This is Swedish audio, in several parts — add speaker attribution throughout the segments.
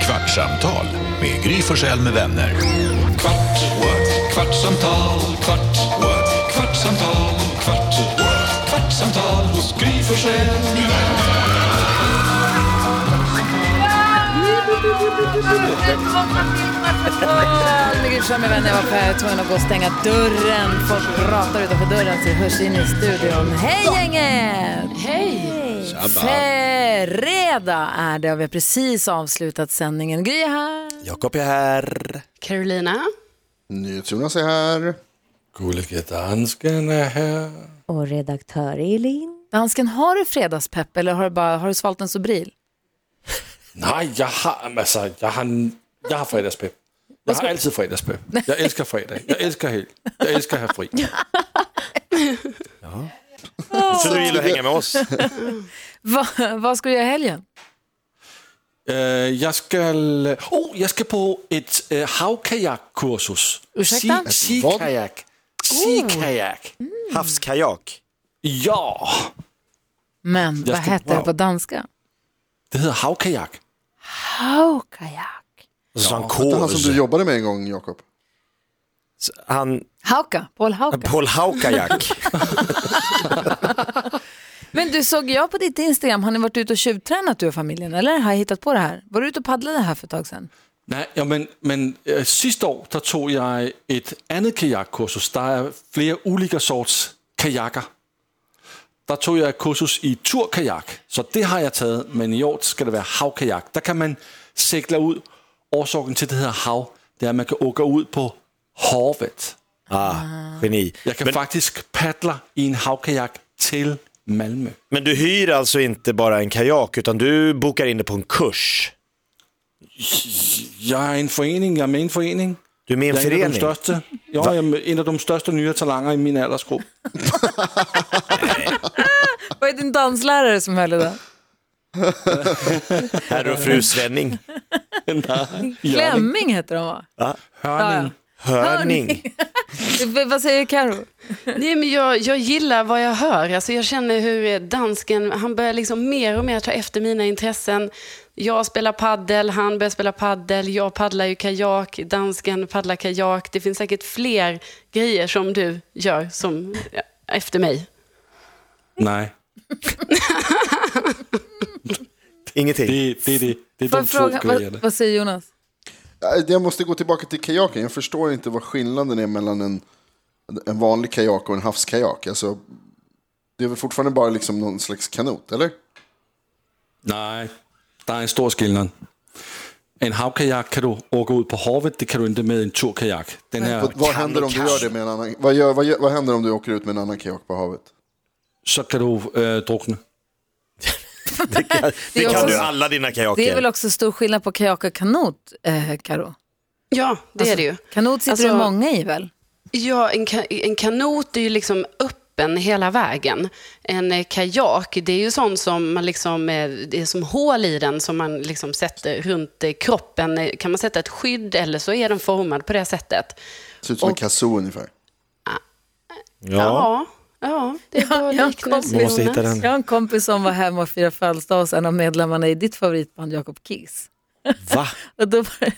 Speaker 1: Kvartsamtal med Gry Forssell med vänner.
Speaker 2: Kvart, what? kvartsamtal, kvart, what? kvartsamtal, kvart, what? kvartsamtal hos Gry Forssell med vänner.
Speaker 3: Gryfsjö med vänner var på- tvungen att gå och stänga dörren. Folk pratar utanför dörren så det hörs in i studion. Hej gänget! Hej! Fredag är det och vi har precis avslutat sändningen. Gry är här.
Speaker 4: Jakob är här.
Speaker 5: Carolina.
Speaker 6: NyhetsJonas är här.
Speaker 4: Gullige dansken är här.
Speaker 7: Och redaktör Elin.
Speaker 3: Dansken, har du fredagspepp eller har du, bara, har du svalt en Sobril?
Speaker 4: Nej, jag har, alltså, jag har, jag har fredagspepp. Jag har alltid fredagspepp. Jag älskar fredag. Jag älskar helg. Jag älskar att ha fri.
Speaker 8: Så du gillar att hänga med oss?
Speaker 3: Va, vad ska du göra i helgen?
Speaker 4: Eh, jag ska, oh, jag ska på ett uh, havkajakkursus.
Speaker 3: Ursäkta?
Speaker 4: Sikajak. Sikajak.
Speaker 8: Havskajak.
Speaker 4: Ja,
Speaker 3: Men vad
Speaker 4: ska-
Speaker 3: heter det
Speaker 4: wow.
Speaker 3: på danska?
Speaker 4: det heter havkajak.
Speaker 3: Haukajak.
Speaker 8: Och så sa han
Speaker 6: Det är
Speaker 8: kor.
Speaker 6: han som du jobbade med en gång, Jakob.
Speaker 8: Så Han,
Speaker 3: Hauka, Paul Hauka.
Speaker 8: Paul Haukajak.
Speaker 3: Men du, såg jag på ditt Instagram, har ni varit ute och tjuvtränat du och familjen eller har jag hittat på det här? Var du ute och paddlade här för ett tag sedan?
Speaker 4: Nej, ja, men, men äh, sista år der tog jag ett annat kajakkursus. Der är flera olika sorts kajaker. Der tog jag ett kursus i turkajak, så det har jag tagit. Men i år ska det vara havkajak. Där kan man segla ut. Orsaken till det här hav, det är att man kan åka ut på havet.
Speaker 8: Ah, geni.
Speaker 4: Jag kan
Speaker 8: Men,
Speaker 4: faktiskt paddla i en havkajak till Malmö.
Speaker 8: men du hyr alltså inte bara en kajak, utan du bokar in det på en kurs.
Speaker 4: Jag är en förening, jag är med i en förening.
Speaker 8: Du är med i en
Speaker 4: Jag är en av de
Speaker 8: förening.
Speaker 4: största, ja, jag är en av de största nya talanger i min åldersgrupp.
Speaker 3: Vad är din danslärare som höll i det?
Speaker 8: Herr och fru Svenning.
Speaker 3: Klemming heter de va?
Speaker 4: Hörning.
Speaker 8: Hörning.
Speaker 3: V- Vad säger Karo?
Speaker 5: Nej, men jag, jag gillar vad jag hör. Alltså, jag känner hur eh, dansken, han börjar liksom mer och mer ta efter mina intressen. Jag spelar paddel, han börjar spela paddel, jag paddlar ju kajak, dansken paddlar kajak. Det finns säkert fler grejer som du gör som, ja, efter mig.
Speaker 4: Nej,
Speaker 8: Ingenting.
Speaker 4: det, det, det, det är
Speaker 3: Vad,
Speaker 4: de
Speaker 3: fråga,
Speaker 4: två
Speaker 3: vad,
Speaker 4: grejerna.
Speaker 3: vad säger Jonas?
Speaker 6: Äh, Jag måste gå tillbaka till kajaken. Jag förstår inte vad skillnaden är mellan en, en vanlig kajak och en havskajak. Alltså, det är väl fortfarande bara liksom någon slags kanot, eller?
Speaker 4: Nej, det är en stor skillnad. En havkajak kan du åka ut på havet, det kan du inte med en turkajak. Den här,
Speaker 6: Vad, vad händer om du gör det med en annan... Vad, gör, vad, gör, vad händer om du åker ut med en annan kajak på havet?
Speaker 4: så kan du äh, drunkna.
Speaker 3: Det
Speaker 8: Det
Speaker 3: är,
Speaker 8: kan du
Speaker 3: också,
Speaker 8: alla dina
Speaker 3: det är väl
Speaker 8: kajaker.
Speaker 3: också stor skillnad på kajak och kanot, eh, Karo?
Speaker 5: Ja, det är det ju.
Speaker 3: Kanot sitter
Speaker 5: Alltså-
Speaker 3: det många i väl?
Speaker 5: Ja, en, ka- en kanot är ju liksom öppen hela vägen. En eh, kajak, det är ju sånt som man liksom, eh, det är som hål i den som man liksom sätter runt eh, kroppen. Eh, Kan man sätta ett skydd eller så är den formad på det sättet.
Speaker 6: Ser ut som en kazoo ungefär.
Speaker 8: Ja.
Speaker 5: ja, ja, det är bra
Speaker 3: jag
Speaker 5: liknelse.
Speaker 8: Man måste hitta
Speaker 5: Jonas.
Speaker 8: den.
Speaker 3: Jag har en kompis som var hemma och firade födelsedag hos en av medlemmarna i ditt favoritband Jakob Kiss.
Speaker 8: Va?
Speaker 3: Och då var, det-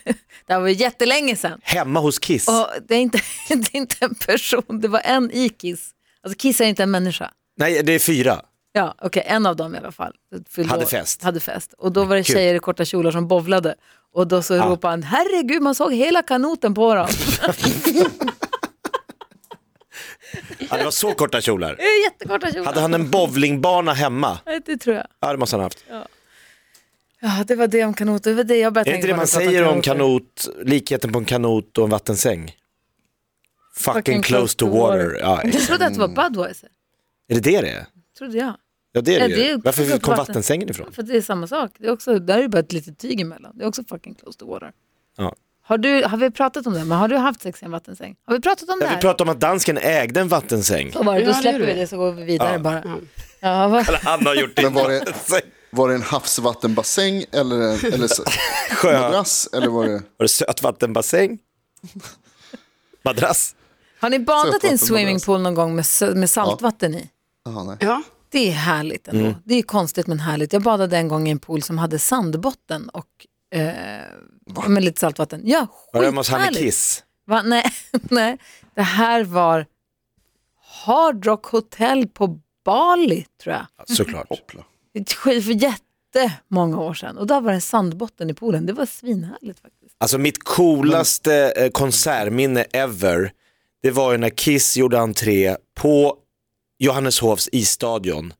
Speaker 3: det här var ju jättelänge sedan.
Speaker 8: Hemma hos Kiss?
Speaker 3: Och det, är inte, det är inte en person, det var en i Kiss. Alltså Kiss är inte en människa.
Speaker 8: Nej, det är fyra.
Speaker 3: Ja, okej, en av dem i alla fall. Fyllde
Speaker 8: Hade
Speaker 3: år-
Speaker 8: fest.
Speaker 3: Hade fest. Och då var det
Speaker 8: Kul. Ah.
Speaker 3: tjejer i korta kjolar som bovlade. Och då så ropade han, herregud, man såg hela kanoten på dem.
Speaker 8: Ja, det var så korta kjolar.
Speaker 3: Det är Jättekorta kjolar.
Speaker 8: Hade han en bowlingbana hemma?
Speaker 3: Nej, Det tror jag.
Speaker 8: Ja, det måste han ha haft.
Speaker 3: Ja, det var det om kanoter. Det var det jag började
Speaker 8: Är det
Speaker 3: tänka
Speaker 8: inte
Speaker 3: på
Speaker 8: det man
Speaker 3: när jag
Speaker 8: säger
Speaker 3: pratar
Speaker 8: om kanot, likheten på en kanot och en vattensäng? Fucking, close to water. Ja,
Speaker 3: Jag trodde att det var
Speaker 8: Mm.
Speaker 3: Budweiser.
Speaker 8: är det det det är?
Speaker 3: Trodde jag.
Speaker 8: Ja det är
Speaker 3: Ja,
Speaker 8: det,
Speaker 3: det är
Speaker 8: ju.
Speaker 3: ju
Speaker 8: Varför
Speaker 3: klart
Speaker 8: kom
Speaker 3: vatten-
Speaker 8: vattensängen ifrån?
Speaker 3: För det är samma sak. Det är också, där är det bara ett litet tyg emellan. Det är också fucking close to water.
Speaker 8: Ja.
Speaker 3: Har, du, har vi pratat om det? Men har du haft sex i en vattensäng? Har vi pratat om det
Speaker 8: Ja,
Speaker 3: här?
Speaker 8: vi pratade om att dansken ägde en vattensäng.
Speaker 3: Så var det.
Speaker 5: Ja,
Speaker 3: Då
Speaker 5: det
Speaker 3: släpper
Speaker 5: gjorde
Speaker 3: vi
Speaker 5: vi.
Speaker 3: det så går vi vidare bara. Ja, vad...
Speaker 8: Han har gjort det.
Speaker 6: Men var det, var det en havsvattenbassäng eller en eller s- madrass? Eller var det...
Speaker 8: Var det sötvattenbassäng? Madrass?
Speaker 3: Har ni badat i en
Speaker 6: Sötvatten
Speaker 3: swimmingpool någon gång med, sö- med saltvatten i?
Speaker 6: Aha, nej.
Speaker 5: Ja,
Speaker 3: Det är härligt ändå. Det är konstigt men härligt. Jag badade en gång i en pool som hade sandbotten och Ja, Men lite saltvatten. Ja,
Speaker 8: Var det hemma hos Hanne
Speaker 3: skithärligt.
Speaker 8: Kiss?
Speaker 3: Va? Nej, nej, det här var Hard Rock Hotel på Bali tror jag.
Speaker 8: Ja, Såklart.
Speaker 6: Hoppla.
Speaker 3: Ett sk- För jättemånga år sedan. Och där var det en sandbotten i poolen. Det var svinhärligt faktiskt.
Speaker 8: Alltså mitt coolaste eh, konsertminne ever, det var ju när Kiss gjorde entré på Johanneshovs isstadion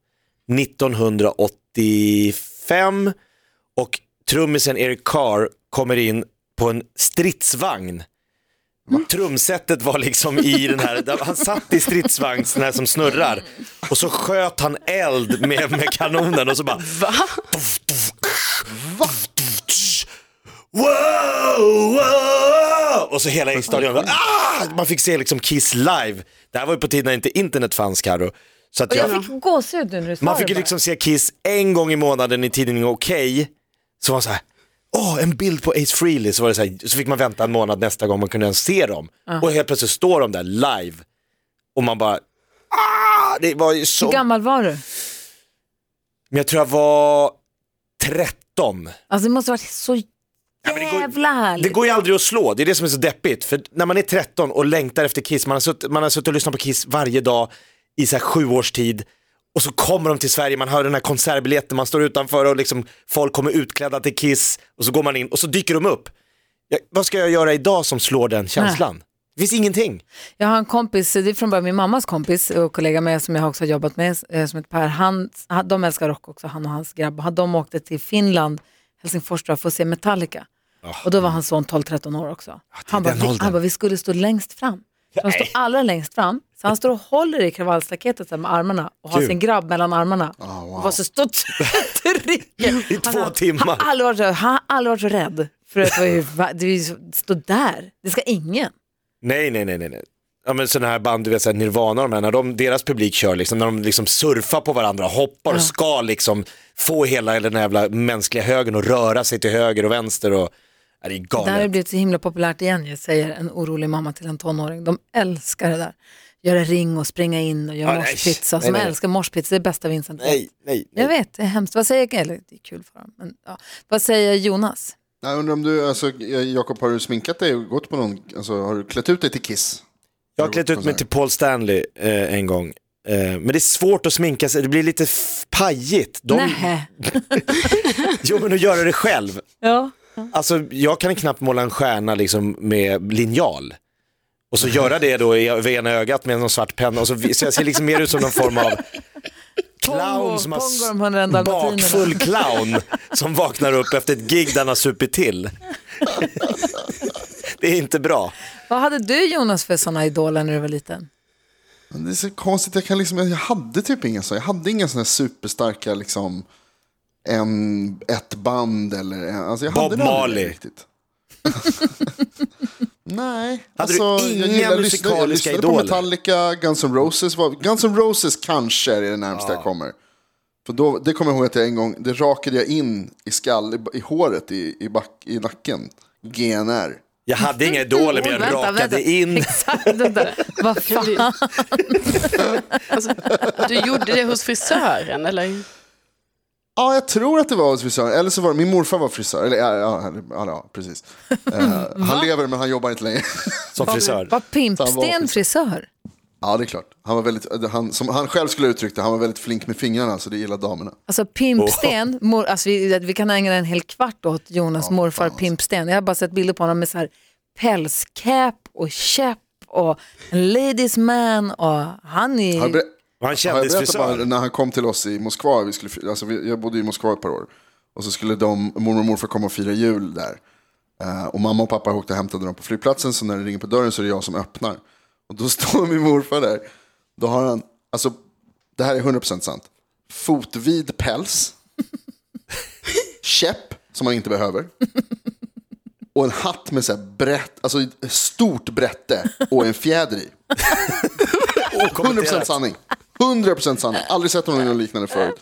Speaker 8: 1985 och trummisen Eric Carr kommer in på en stridsvagn. Trumsetet var liksom i den här, där han satt i stridsvagn sån här som snurrar och så sköt han eld med, med kanonen och så bara wow, wow! Och så hela i stadion, ah! man fick se liksom Kiss live. Det här var ju på tiden när inte internet fanns Karo. Så att
Speaker 3: Och
Speaker 8: jag,
Speaker 3: jag fick gåshud nu när du sa
Speaker 8: man
Speaker 3: det
Speaker 8: fick ju
Speaker 3: bara.
Speaker 8: liksom se Kiss en gång i månaden i tidningen Okej, så var det så här, åh en bild på Ace Frehley, så, var det så, här, så fick man vänta en månad nästa gång man kunde ens se dem. Och helt plötsligt står de där live och man bara, ah! det var ju så,
Speaker 3: Hur gammal var du?
Speaker 8: men jag tror jag var 13.
Speaker 3: Alltså det måste ha varit så
Speaker 8: men det går-
Speaker 3: jävla härligt.
Speaker 8: Det går ju aldrig att slå, det är det som är så deppigt. För när man är 13 och längtar efter Kiss, man har suttit, man har suttit och lyssnat på Kiss varje dag i så här sju års tid. Och så kommer de till Sverige, man hör den här konsertbiljetten, man står utanför och liksom folk kommer utklädda till Kiss och så går man in och så dyker de upp. Ja, vad ska jag göra idag som slår den känslan? Det finns ingenting.
Speaker 3: Jag har en kompis, det är från början min mammas kompis och kollega med som jag också har jobbat med, eh, som heter Per. Han, han, de älskar rock också, han och hans grabb. Han- De åkte till Finland, Helsingfors tror jag, för att se Metallica.
Speaker 8: Ah.
Speaker 3: Och då var hans son 12-13 år också. han, bara,
Speaker 8: den
Speaker 3: vi,
Speaker 8: åldern.
Speaker 3: han bara, vi skulle stå längst fram. Så han står allra längst fram, så han står och håller i kravallstaketet så här med armarna och har
Speaker 8: Kul.
Speaker 3: sin grabb mellan armarna. Och var så stort trycker.
Speaker 8: Ah, I två timmar.
Speaker 3: Han har aldrig varit så, han har aldrig varit så rädd. För att det var ju- va- det är ju så- stå där, det ska ingen.
Speaker 8: Nej, nej, nej, nej. nej. Ja men sådana här band, du vet såhär Nirvana och de här, när de, deras publik kör liksom, när de liksom surfar på varandra, hoppar och ska liksom få hela den här jävla mänskliga högen att röra sig till höger och vänster och, ja, det är
Speaker 3: Det här har
Speaker 8: galet.
Speaker 3: blivit så himla populärt igen, ju, säger en orolig mamma till en tonåring. De älskar det där. Göra ring och springa in och göra
Speaker 8: Ja, nej.
Speaker 3: morspizza.
Speaker 8: Nej,
Speaker 3: Som
Speaker 8: nej.
Speaker 3: älskar morspizza, det är bästa Vincent vet.
Speaker 8: Nej, nej,
Speaker 3: Jag
Speaker 8: nej.
Speaker 3: vet, det är hemskt. Vad säger, eller, det är kul för dem, men, ja. Vad säger Jonas?
Speaker 6: Jag undrar om du, alltså, Jakob, har du sminkat dig och gått på någon, alltså, har du klätt ut dig till Kiss?
Speaker 8: Jag har klätt ut mig till Paul Stanley eh, en gång. Eh, men det är svårt att sminka sig, det blir lite f- pajigt. De,
Speaker 3: Nähä.
Speaker 8: Jo men att göra det själv.
Speaker 3: Ja.
Speaker 8: Alltså jag kan knappt måla en stjärna liksom med linjal. Och så göra det då i över ena ögat med någon svart penna. Och så, vi- så jag ser liksom mer ut som någon form av
Speaker 3: Pongo,
Speaker 8: clown som har s-
Speaker 3: Pongo de 101 dalmatinerna.
Speaker 8: bakfull clown som vaknar upp efter ett gig där han har supit till. Det är inte bra.
Speaker 3: Vad hade du Jonas för sådana idoler när du var liten?
Speaker 6: Men Det är så konstigt, jag, kan liksom, jag hade typ inga så. Jag hade inga sådana här superstarka, liksom, en, ett band eller... en- Alltså, jag
Speaker 8: Bob
Speaker 6: hade nog aldrig
Speaker 8: Marley.
Speaker 6: det riktigt. Nej,
Speaker 8: Hade du inga
Speaker 6: gillar- Jag
Speaker 8: musikaliska
Speaker 6: lyssnade på
Speaker 8: idoler?
Speaker 6: Metallica, Guns N' Roses. Var, Guns N' Roses kanske är det närmsta jag kommer. För då, det kommer jag ihåg att jag en gång, det rakade jag in i skall, i, i håret, i, i, back, i nacken. GNR.
Speaker 8: Jag hade inga idoler men
Speaker 3: Oh,
Speaker 8: jag
Speaker 3: Vänta,
Speaker 8: rakade
Speaker 3: vänta.
Speaker 8: in.
Speaker 3: Exakt, det där. Vad fan.
Speaker 5: Du, alltså, du gjorde det hos frisören eller?
Speaker 6: Ja, jag tror att det var hos frisören. Eller så var det, min morfar var frisör. Eller, ja, ja, eller- ja, ja precis. Eh, han lever men han jobbar inte längre.
Speaker 8: Som frisör.
Speaker 3: Var
Speaker 6: Fan, vad
Speaker 3: Pimpsten
Speaker 6: ofint.
Speaker 3: frisör?
Speaker 6: ja, det är klart. Han var väldigt, han, som han själv skulle uttrycka det, han var väldigt flink med fingrarna så det gillar damerna.
Speaker 3: Alltså Pimpsten, mor, alltså vi, vi kan ägna en hel kvart åt Jonas morfar Pimpsten. Jag har bara sett bilder på honom med så här pälscap och käpp och en ladies man och han är...
Speaker 6: Har jag, ber-
Speaker 8: Var han
Speaker 6: har jag berättat
Speaker 8: kändisfrisör?
Speaker 6: bara när han kom till oss i Moskva, vi skulle, fi- alltså, vi, jag bodde i Moskva ett par år. Och så skulle de, mormor och morfar komma och fira jul där. Eh, och mamma och pappa åkte och hämtade dem på flygplatsen så när det ringer på dörren så är det jag som öppnar. Och då står min morfar där. Då har han, alltså det här är 100% sant. Fotvid päls. käpp som han inte behöver. Och en hatt med så här brett, alltså ett stort brätte och en fjäder i. Och 100% sanning. 100% sanning. Aldrig sett honom i något liknande förut.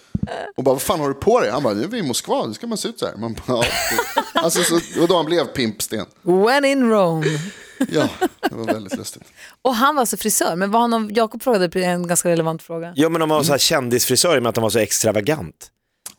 Speaker 6: Och bara, vad fan har du på dig? Han bara, nu är vi i Moskva, nu ska man se ut så här. Man bara, ja. alltså, så, det var då han blev pimpsten.
Speaker 3: When in Rome.
Speaker 6: Ja, det var väldigt lustigt.
Speaker 3: Och han var alltså frisör, men var han någon, Jakob frågade en ganska relevant fråga.
Speaker 8: Ja men om man var så här kändisfrisör i och med att han var så extravagant.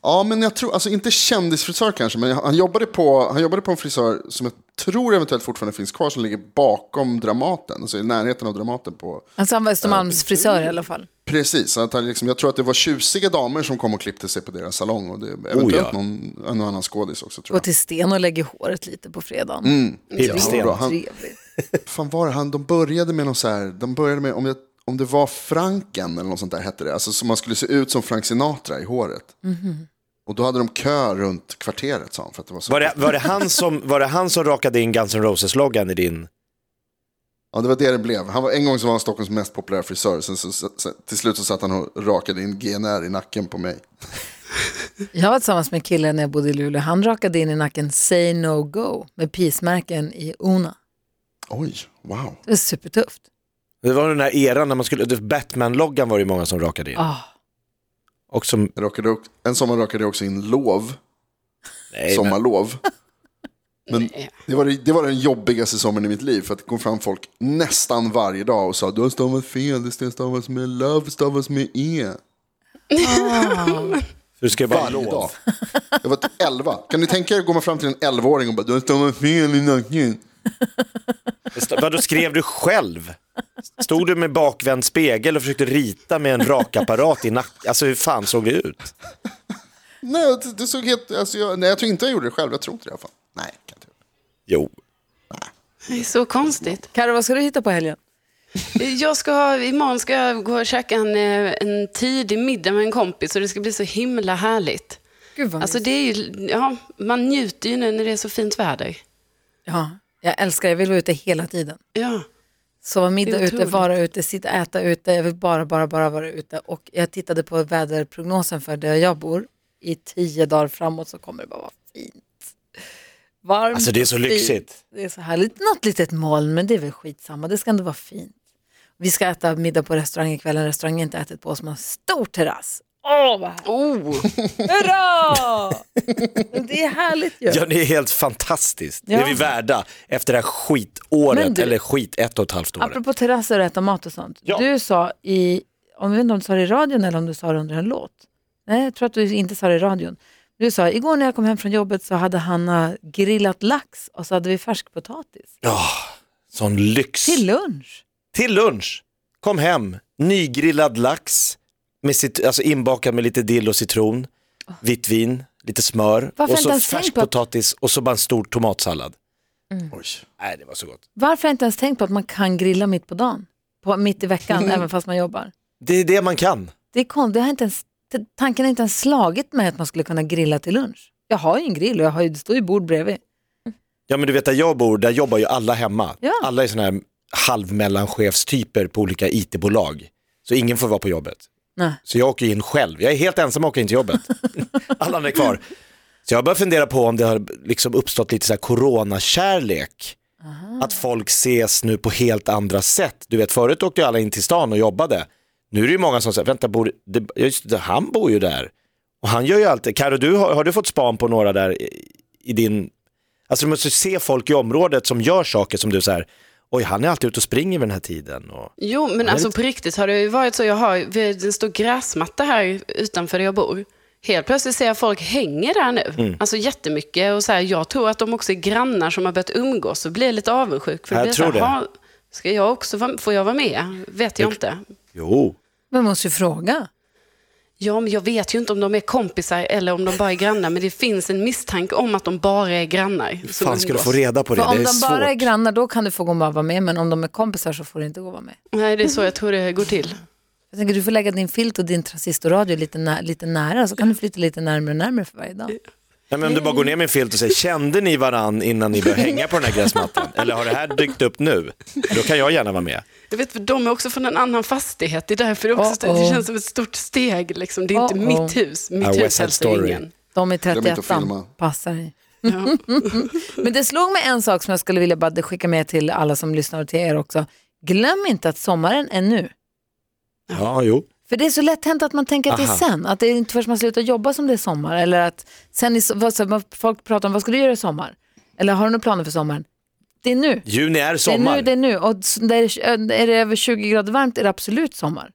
Speaker 6: Ja, men jag tror, alltså inte kändisfrisör kanske, men han jobbade, på, han jobbade på en frisör som jag tror eventuellt fortfarande finns kvar, som ligger bakom Dramaten, alltså i närheten av Dramaten. på...
Speaker 3: Alltså han var Östermalms frisör i alla fall.
Speaker 6: Precis, så att han liksom, jag tror att det var tjusiga damer som kom och klippte sig på deras salong. Och det, eventuellt
Speaker 4: ja.
Speaker 6: någon, en och annan skådis också tror
Speaker 3: Gå
Speaker 6: jag.
Speaker 3: till Sten och lägger håret lite på fredagen. Mm.
Speaker 8: Hipsten.
Speaker 6: bra. Han-
Speaker 3: Trevligt.
Speaker 6: fan var det han, de började med någon så här, de började med, om det, om det var Franken eller något sånt där hette det, alltså som man skulle se ut som Frank Sinatra i håret.
Speaker 3: Mhm.
Speaker 6: Och då hade de kö runt kvarteret sa han, för att det var så.
Speaker 8: Var det, var, det han som, var det han som rakade in Guns N' Roses-loggan i din...
Speaker 6: Ja, det var det det blev. Han var, en gång så var han Stockholms mest populära frisör, sen så, så, så, till slut så satt han och rakade in GNR i nacken på mig.
Speaker 3: Jag var tillsammans med killen när jag bodde i Luleå. Han rakade in i nacken Say No Go med pismärken i Ona.
Speaker 6: Oj, wow.
Speaker 3: Det var supertufft.
Speaker 8: Det var den där eran när man skulle... Batman-loggan var det ju många som rakade in.
Speaker 3: Ah.
Speaker 8: Och som...
Speaker 6: Jag rakade, ock- en sommar rakade jag också in lov,
Speaker 8: Nej, men,
Speaker 6: sommarlov. Men det var, det var den jobbigaste sommaren i mitt liv. För att det kom fram folk nästan varje dag och sa du har stavat fel, det stavas med love, stavas med e.
Speaker 3: Ah.
Speaker 8: du ska ju bara...
Speaker 6: Varje dag. Jag var typ 11. Kan ni tänka er, går man fram till en 11-åring och bara du har stavat fel i nacken.
Speaker 8: Vadå, skrev du själv? Stod du med bakvänd spegel och försökte rita med en rakapparat i nacken? Alltså hur fan såg det ut?
Speaker 6: Nej, det, det såg helt, alltså jag, nej, jag tror inte jag gjorde det själv. Jag tror inte det i alla fall. Nej, kan inte.
Speaker 8: Jo.
Speaker 5: Det är så konstigt. Eh,
Speaker 3: Karo, vad ska du hitta på helgen?
Speaker 5: Jag ska, ha- imorgon ska jag gå och käka en, eh, en tidig middag med en kompis och det ska bli så himla härligt.
Speaker 3: Gud vad
Speaker 5: Alltså
Speaker 3: mysigt.
Speaker 5: det är ju, ja, man njuter ju nu när det är så fint väder.
Speaker 3: ja, Jag älskar det. Jag vill vara ute hela tiden.
Speaker 5: Ja.
Speaker 3: Sova middag
Speaker 5: Det är
Speaker 3: ute,
Speaker 5: otroligt.
Speaker 3: vara ute, sitta, äta ute. Jag vill bara, bara, bara vara ute. Och jag tittade på väderprognosen för där jag bor. I tio dagar framåt så kommer det bara vara fint. Varmt.
Speaker 8: Alltså det är så
Speaker 3: fint.
Speaker 8: lyxigt.
Speaker 3: Det är så härligt. Något litet moln, men det är väl skitsamma. Det ska ändå vara fint. Vi ska äta middag på restaurang ikväll. En restaurang jag inte ätit på som har en stor terrass. Åh, vad härligt.
Speaker 5: Oh.
Speaker 3: Hurra! Men det är härligt ju.
Speaker 8: Ja, det är helt fantastiskt. Det
Speaker 3: Ja.
Speaker 8: är vi värda efter det här skitåret,
Speaker 3: Men du-
Speaker 8: eller skit ett och ett halvt året.
Speaker 3: Apropå terrasser och äta mat och sånt. Du sa i, om jag vet inte om du sa det i radion eller om du sa det under en låt. Nej, jag tror att du inte sa det i radion. Du sa, igår när jag kom hem från jobbet så hade Hanna grillat lax och så hade vi färskpotatis
Speaker 8: Ja, sån lyx.
Speaker 3: till lunch.
Speaker 8: Till lunch. Kom hem, nygrillad lax, med cit- alltså inbakad med lite dill och citron,
Speaker 3: Oh.
Speaker 8: vitt vin, lite smör
Speaker 3: Varför
Speaker 8: och
Speaker 3: inte
Speaker 8: så
Speaker 3: ens tänkt på Mm. att-
Speaker 8: färskpotatis och så bara en stor tomatsallad. Nej, det var så gott.
Speaker 3: Varför har jag inte ens tänkt på att man kan grilla mitt på dagen? På, mitt i veckan, även fast man jobbar.
Speaker 8: Det är det man kan.
Speaker 3: Det är konstigt, det har inte ens, t- tanken har inte ens slagit mig att man skulle kunna grilla till lunch. Jag har ju en grill och jag har ju, det står ju bord bredvid.
Speaker 8: Ja, men du vet där jag bor, där jobbar ju alla hemma.
Speaker 3: Ja.
Speaker 8: Alla är sådana här halvmellanchefstyper på olika IT-bolag. Så ingen får vara på jobbet.
Speaker 3: Nej.
Speaker 8: Så jag åker in själv. Jag är helt ensam och åker in till jobbet. Alla andra är kvar. Så jag börjar fundera på om det har liksom uppstått lite så här coronakärlek. Att folk ses nu på helt andra sätt. Du vet, förut åkte ju alla in till stan och jobbade. Nu är det ju många som säger, vänta, bor, det, just det, han bor ju där. Och han gör ju alltid, Karo, du, har, har du fått span på några där i, i din... Alltså du måste se folk i området som gör saker som du så här, oj, han är alltid ute och springer vid den här tiden. Och,
Speaker 5: Jo, men alltså på riktigt har det ju varit så. Jag har vi har en stor gräsmatta här utanför där jag bor. Helt plötsligt ser jag folk hänger där nu.
Speaker 8: Mm.
Speaker 5: Alltså jättemycket. Och så här, jag tror att de också är grannar som har börjat umgås. Så blir jag lite avundsjuk. För
Speaker 8: Jag
Speaker 5: blir
Speaker 8: tror
Speaker 5: så
Speaker 8: det.
Speaker 5: här, "Ha, Ska jag också vara, får jag vara med? Vet jag inte.
Speaker 8: jo,
Speaker 3: Men man måste ju fråga.
Speaker 5: Ja, men jag vet ju inte om de är kompisar eller om de bara är grannar. Men det finns en misstanke om att de bara är grannar.
Speaker 8: hur
Speaker 5: som
Speaker 8: fan ska du
Speaker 5: umgås.
Speaker 8: få reda på det?
Speaker 3: För om
Speaker 8: det är
Speaker 3: de bara är
Speaker 8: svårt.
Speaker 3: grannar då kan du få gå och vara med, men om de är kompisar så får du inte gå och vara med.
Speaker 5: Nej, det är så jag tror det går till.
Speaker 3: Jag tänker, du får lägga din filt och din transistoradio lite, nä- lite nära, så kan du flytta lite närmare och närmare för varje dag.
Speaker 8: Nej, men om du bara går ner med en filt och säger, kände ni varann innan ni började hänga på den här gräsmattan? Eller har det här dykt upp nu? Då kan jag gärna vara med.
Speaker 5: Jag vet, för de är också från en annan fastighet. Det är därför det, också,
Speaker 3: Uh-oh.
Speaker 5: det känns som ett stort steg. Liksom. Det är inte
Speaker 3: Uh-oh.
Speaker 5: mitt hus.
Speaker 8: Ah,
Speaker 5: Mitt
Speaker 8: West
Speaker 5: hus
Speaker 8: Side
Speaker 5: hälsar
Speaker 8: Story.
Speaker 5: ingen.
Speaker 3: De är
Speaker 6: Glöm inte att
Speaker 3: 31,
Speaker 6: filma.
Speaker 3: passar i.
Speaker 5: Ja.
Speaker 3: Men det slog mig en sak som jag skulle vilja bara skicka med till alla som lyssnar och till er också. Glöm inte att sommaren är nu.
Speaker 8: Ja, jo.
Speaker 3: För det är så lätt hänt att man tänker att det är
Speaker 8: Aha.
Speaker 3: sen, att det är inte först man slutar jobba som det är sommar. Eller att sen är, so- vad, så, vad folk pratar om, vad ska du göra i sommar? Eller har du några planer för sommaren? Det är nu.
Speaker 8: Juni är
Speaker 3: Det är
Speaker 8: sommar.
Speaker 3: nu, det är nu. Och s- där är, är det över 20 grader varmt är det absolut sommar.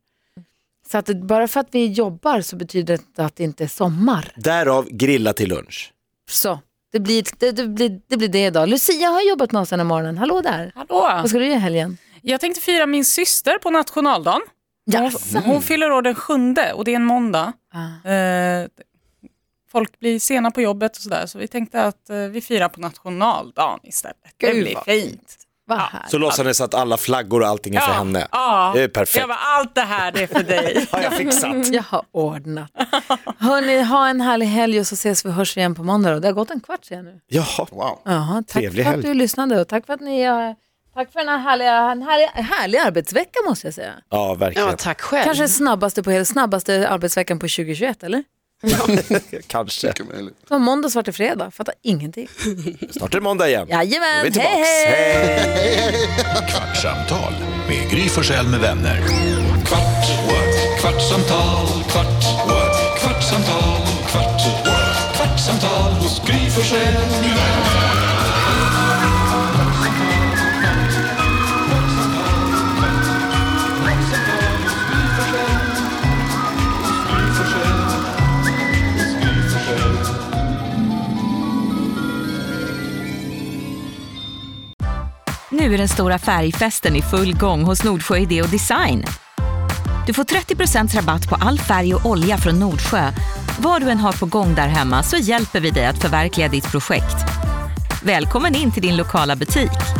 Speaker 3: Så att det- bara för att vi jobbar så betyder det inte att det inte är sommar.
Speaker 8: Därav grilla till lunch.
Speaker 3: Så, det blir det, det, blir, det, blir det idag. Lucia har jobbat med oss den här morgonen. Hallå där!
Speaker 9: Hallå!
Speaker 3: Vad ska du göra i helgen?
Speaker 9: Jag tänkte fira min syster på nationaldagen.
Speaker 3: Yes.
Speaker 8: Mm.
Speaker 9: Hon fyller år den sjunde och det är en måndag. Eh, folk blir sena på jobbet och sådär så vi tänkte att eh, vi firar på nationaldagen istället. det
Speaker 3: Gud,
Speaker 9: blir
Speaker 3: vad
Speaker 9: fint.
Speaker 3: Vad här.
Speaker 8: Så låtsades att alla flaggor och allting är för henne.
Speaker 9: ja.
Speaker 8: Det är perfekt.
Speaker 9: Jag bara, allt det här det är för dig.
Speaker 8: Har jag fixat?
Speaker 3: Jag har ordnat. Hörni, ha en härlig helg och så ses vi hörs vi igen på måndag. Då. Det har gått en kvart sedan nu.
Speaker 8: Jaha.
Speaker 6: Wow.
Speaker 3: Jaha, tack
Speaker 8: Trevlig
Speaker 3: för att
Speaker 8: helg.
Speaker 3: du lyssnade och tack för att ni eh, Tack för den här härliga, en härlig, härlig arbetsvecka måste jag säga.
Speaker 8: Ja,
Speaker 5: Ja,
Speaker 8: verkligen.
Speaker 5: tack själv.
Speaker 3: Kanske den snabbaste, på, hela- snabbaste arbetsveckan på 2021 eller?
Speaker 8: Kanske.
Speaker 6: Mycket möjligt.
Speaker 3: Från måndag svart till fredag, fattar ingenting.
Speaker 8: Snart är det måndag igen. Då är vi
Speaker 3: Jajamän,
Speaker 8: tillbaks.
Speaker 3: hej! hej.
Speaker 1: Kvartsamtal med Gry Forssell med vänner.
Speaker 2: Kvart, what? kvartsamtal, kvart, what? kvartsamtal, kvart, what? kvartsamtal hos Gry Forssell med vänner.
Speaker 10: Nu är den stora färgfesten i full gång hos Nordsjö Idé och Design. Du får 30 rabatt på all färg och olja från Nordsjö. Vad du än har på gång där hemma så hjälper vi dig att förverkliga ditt projekt. Välkommen in till din lokala butik.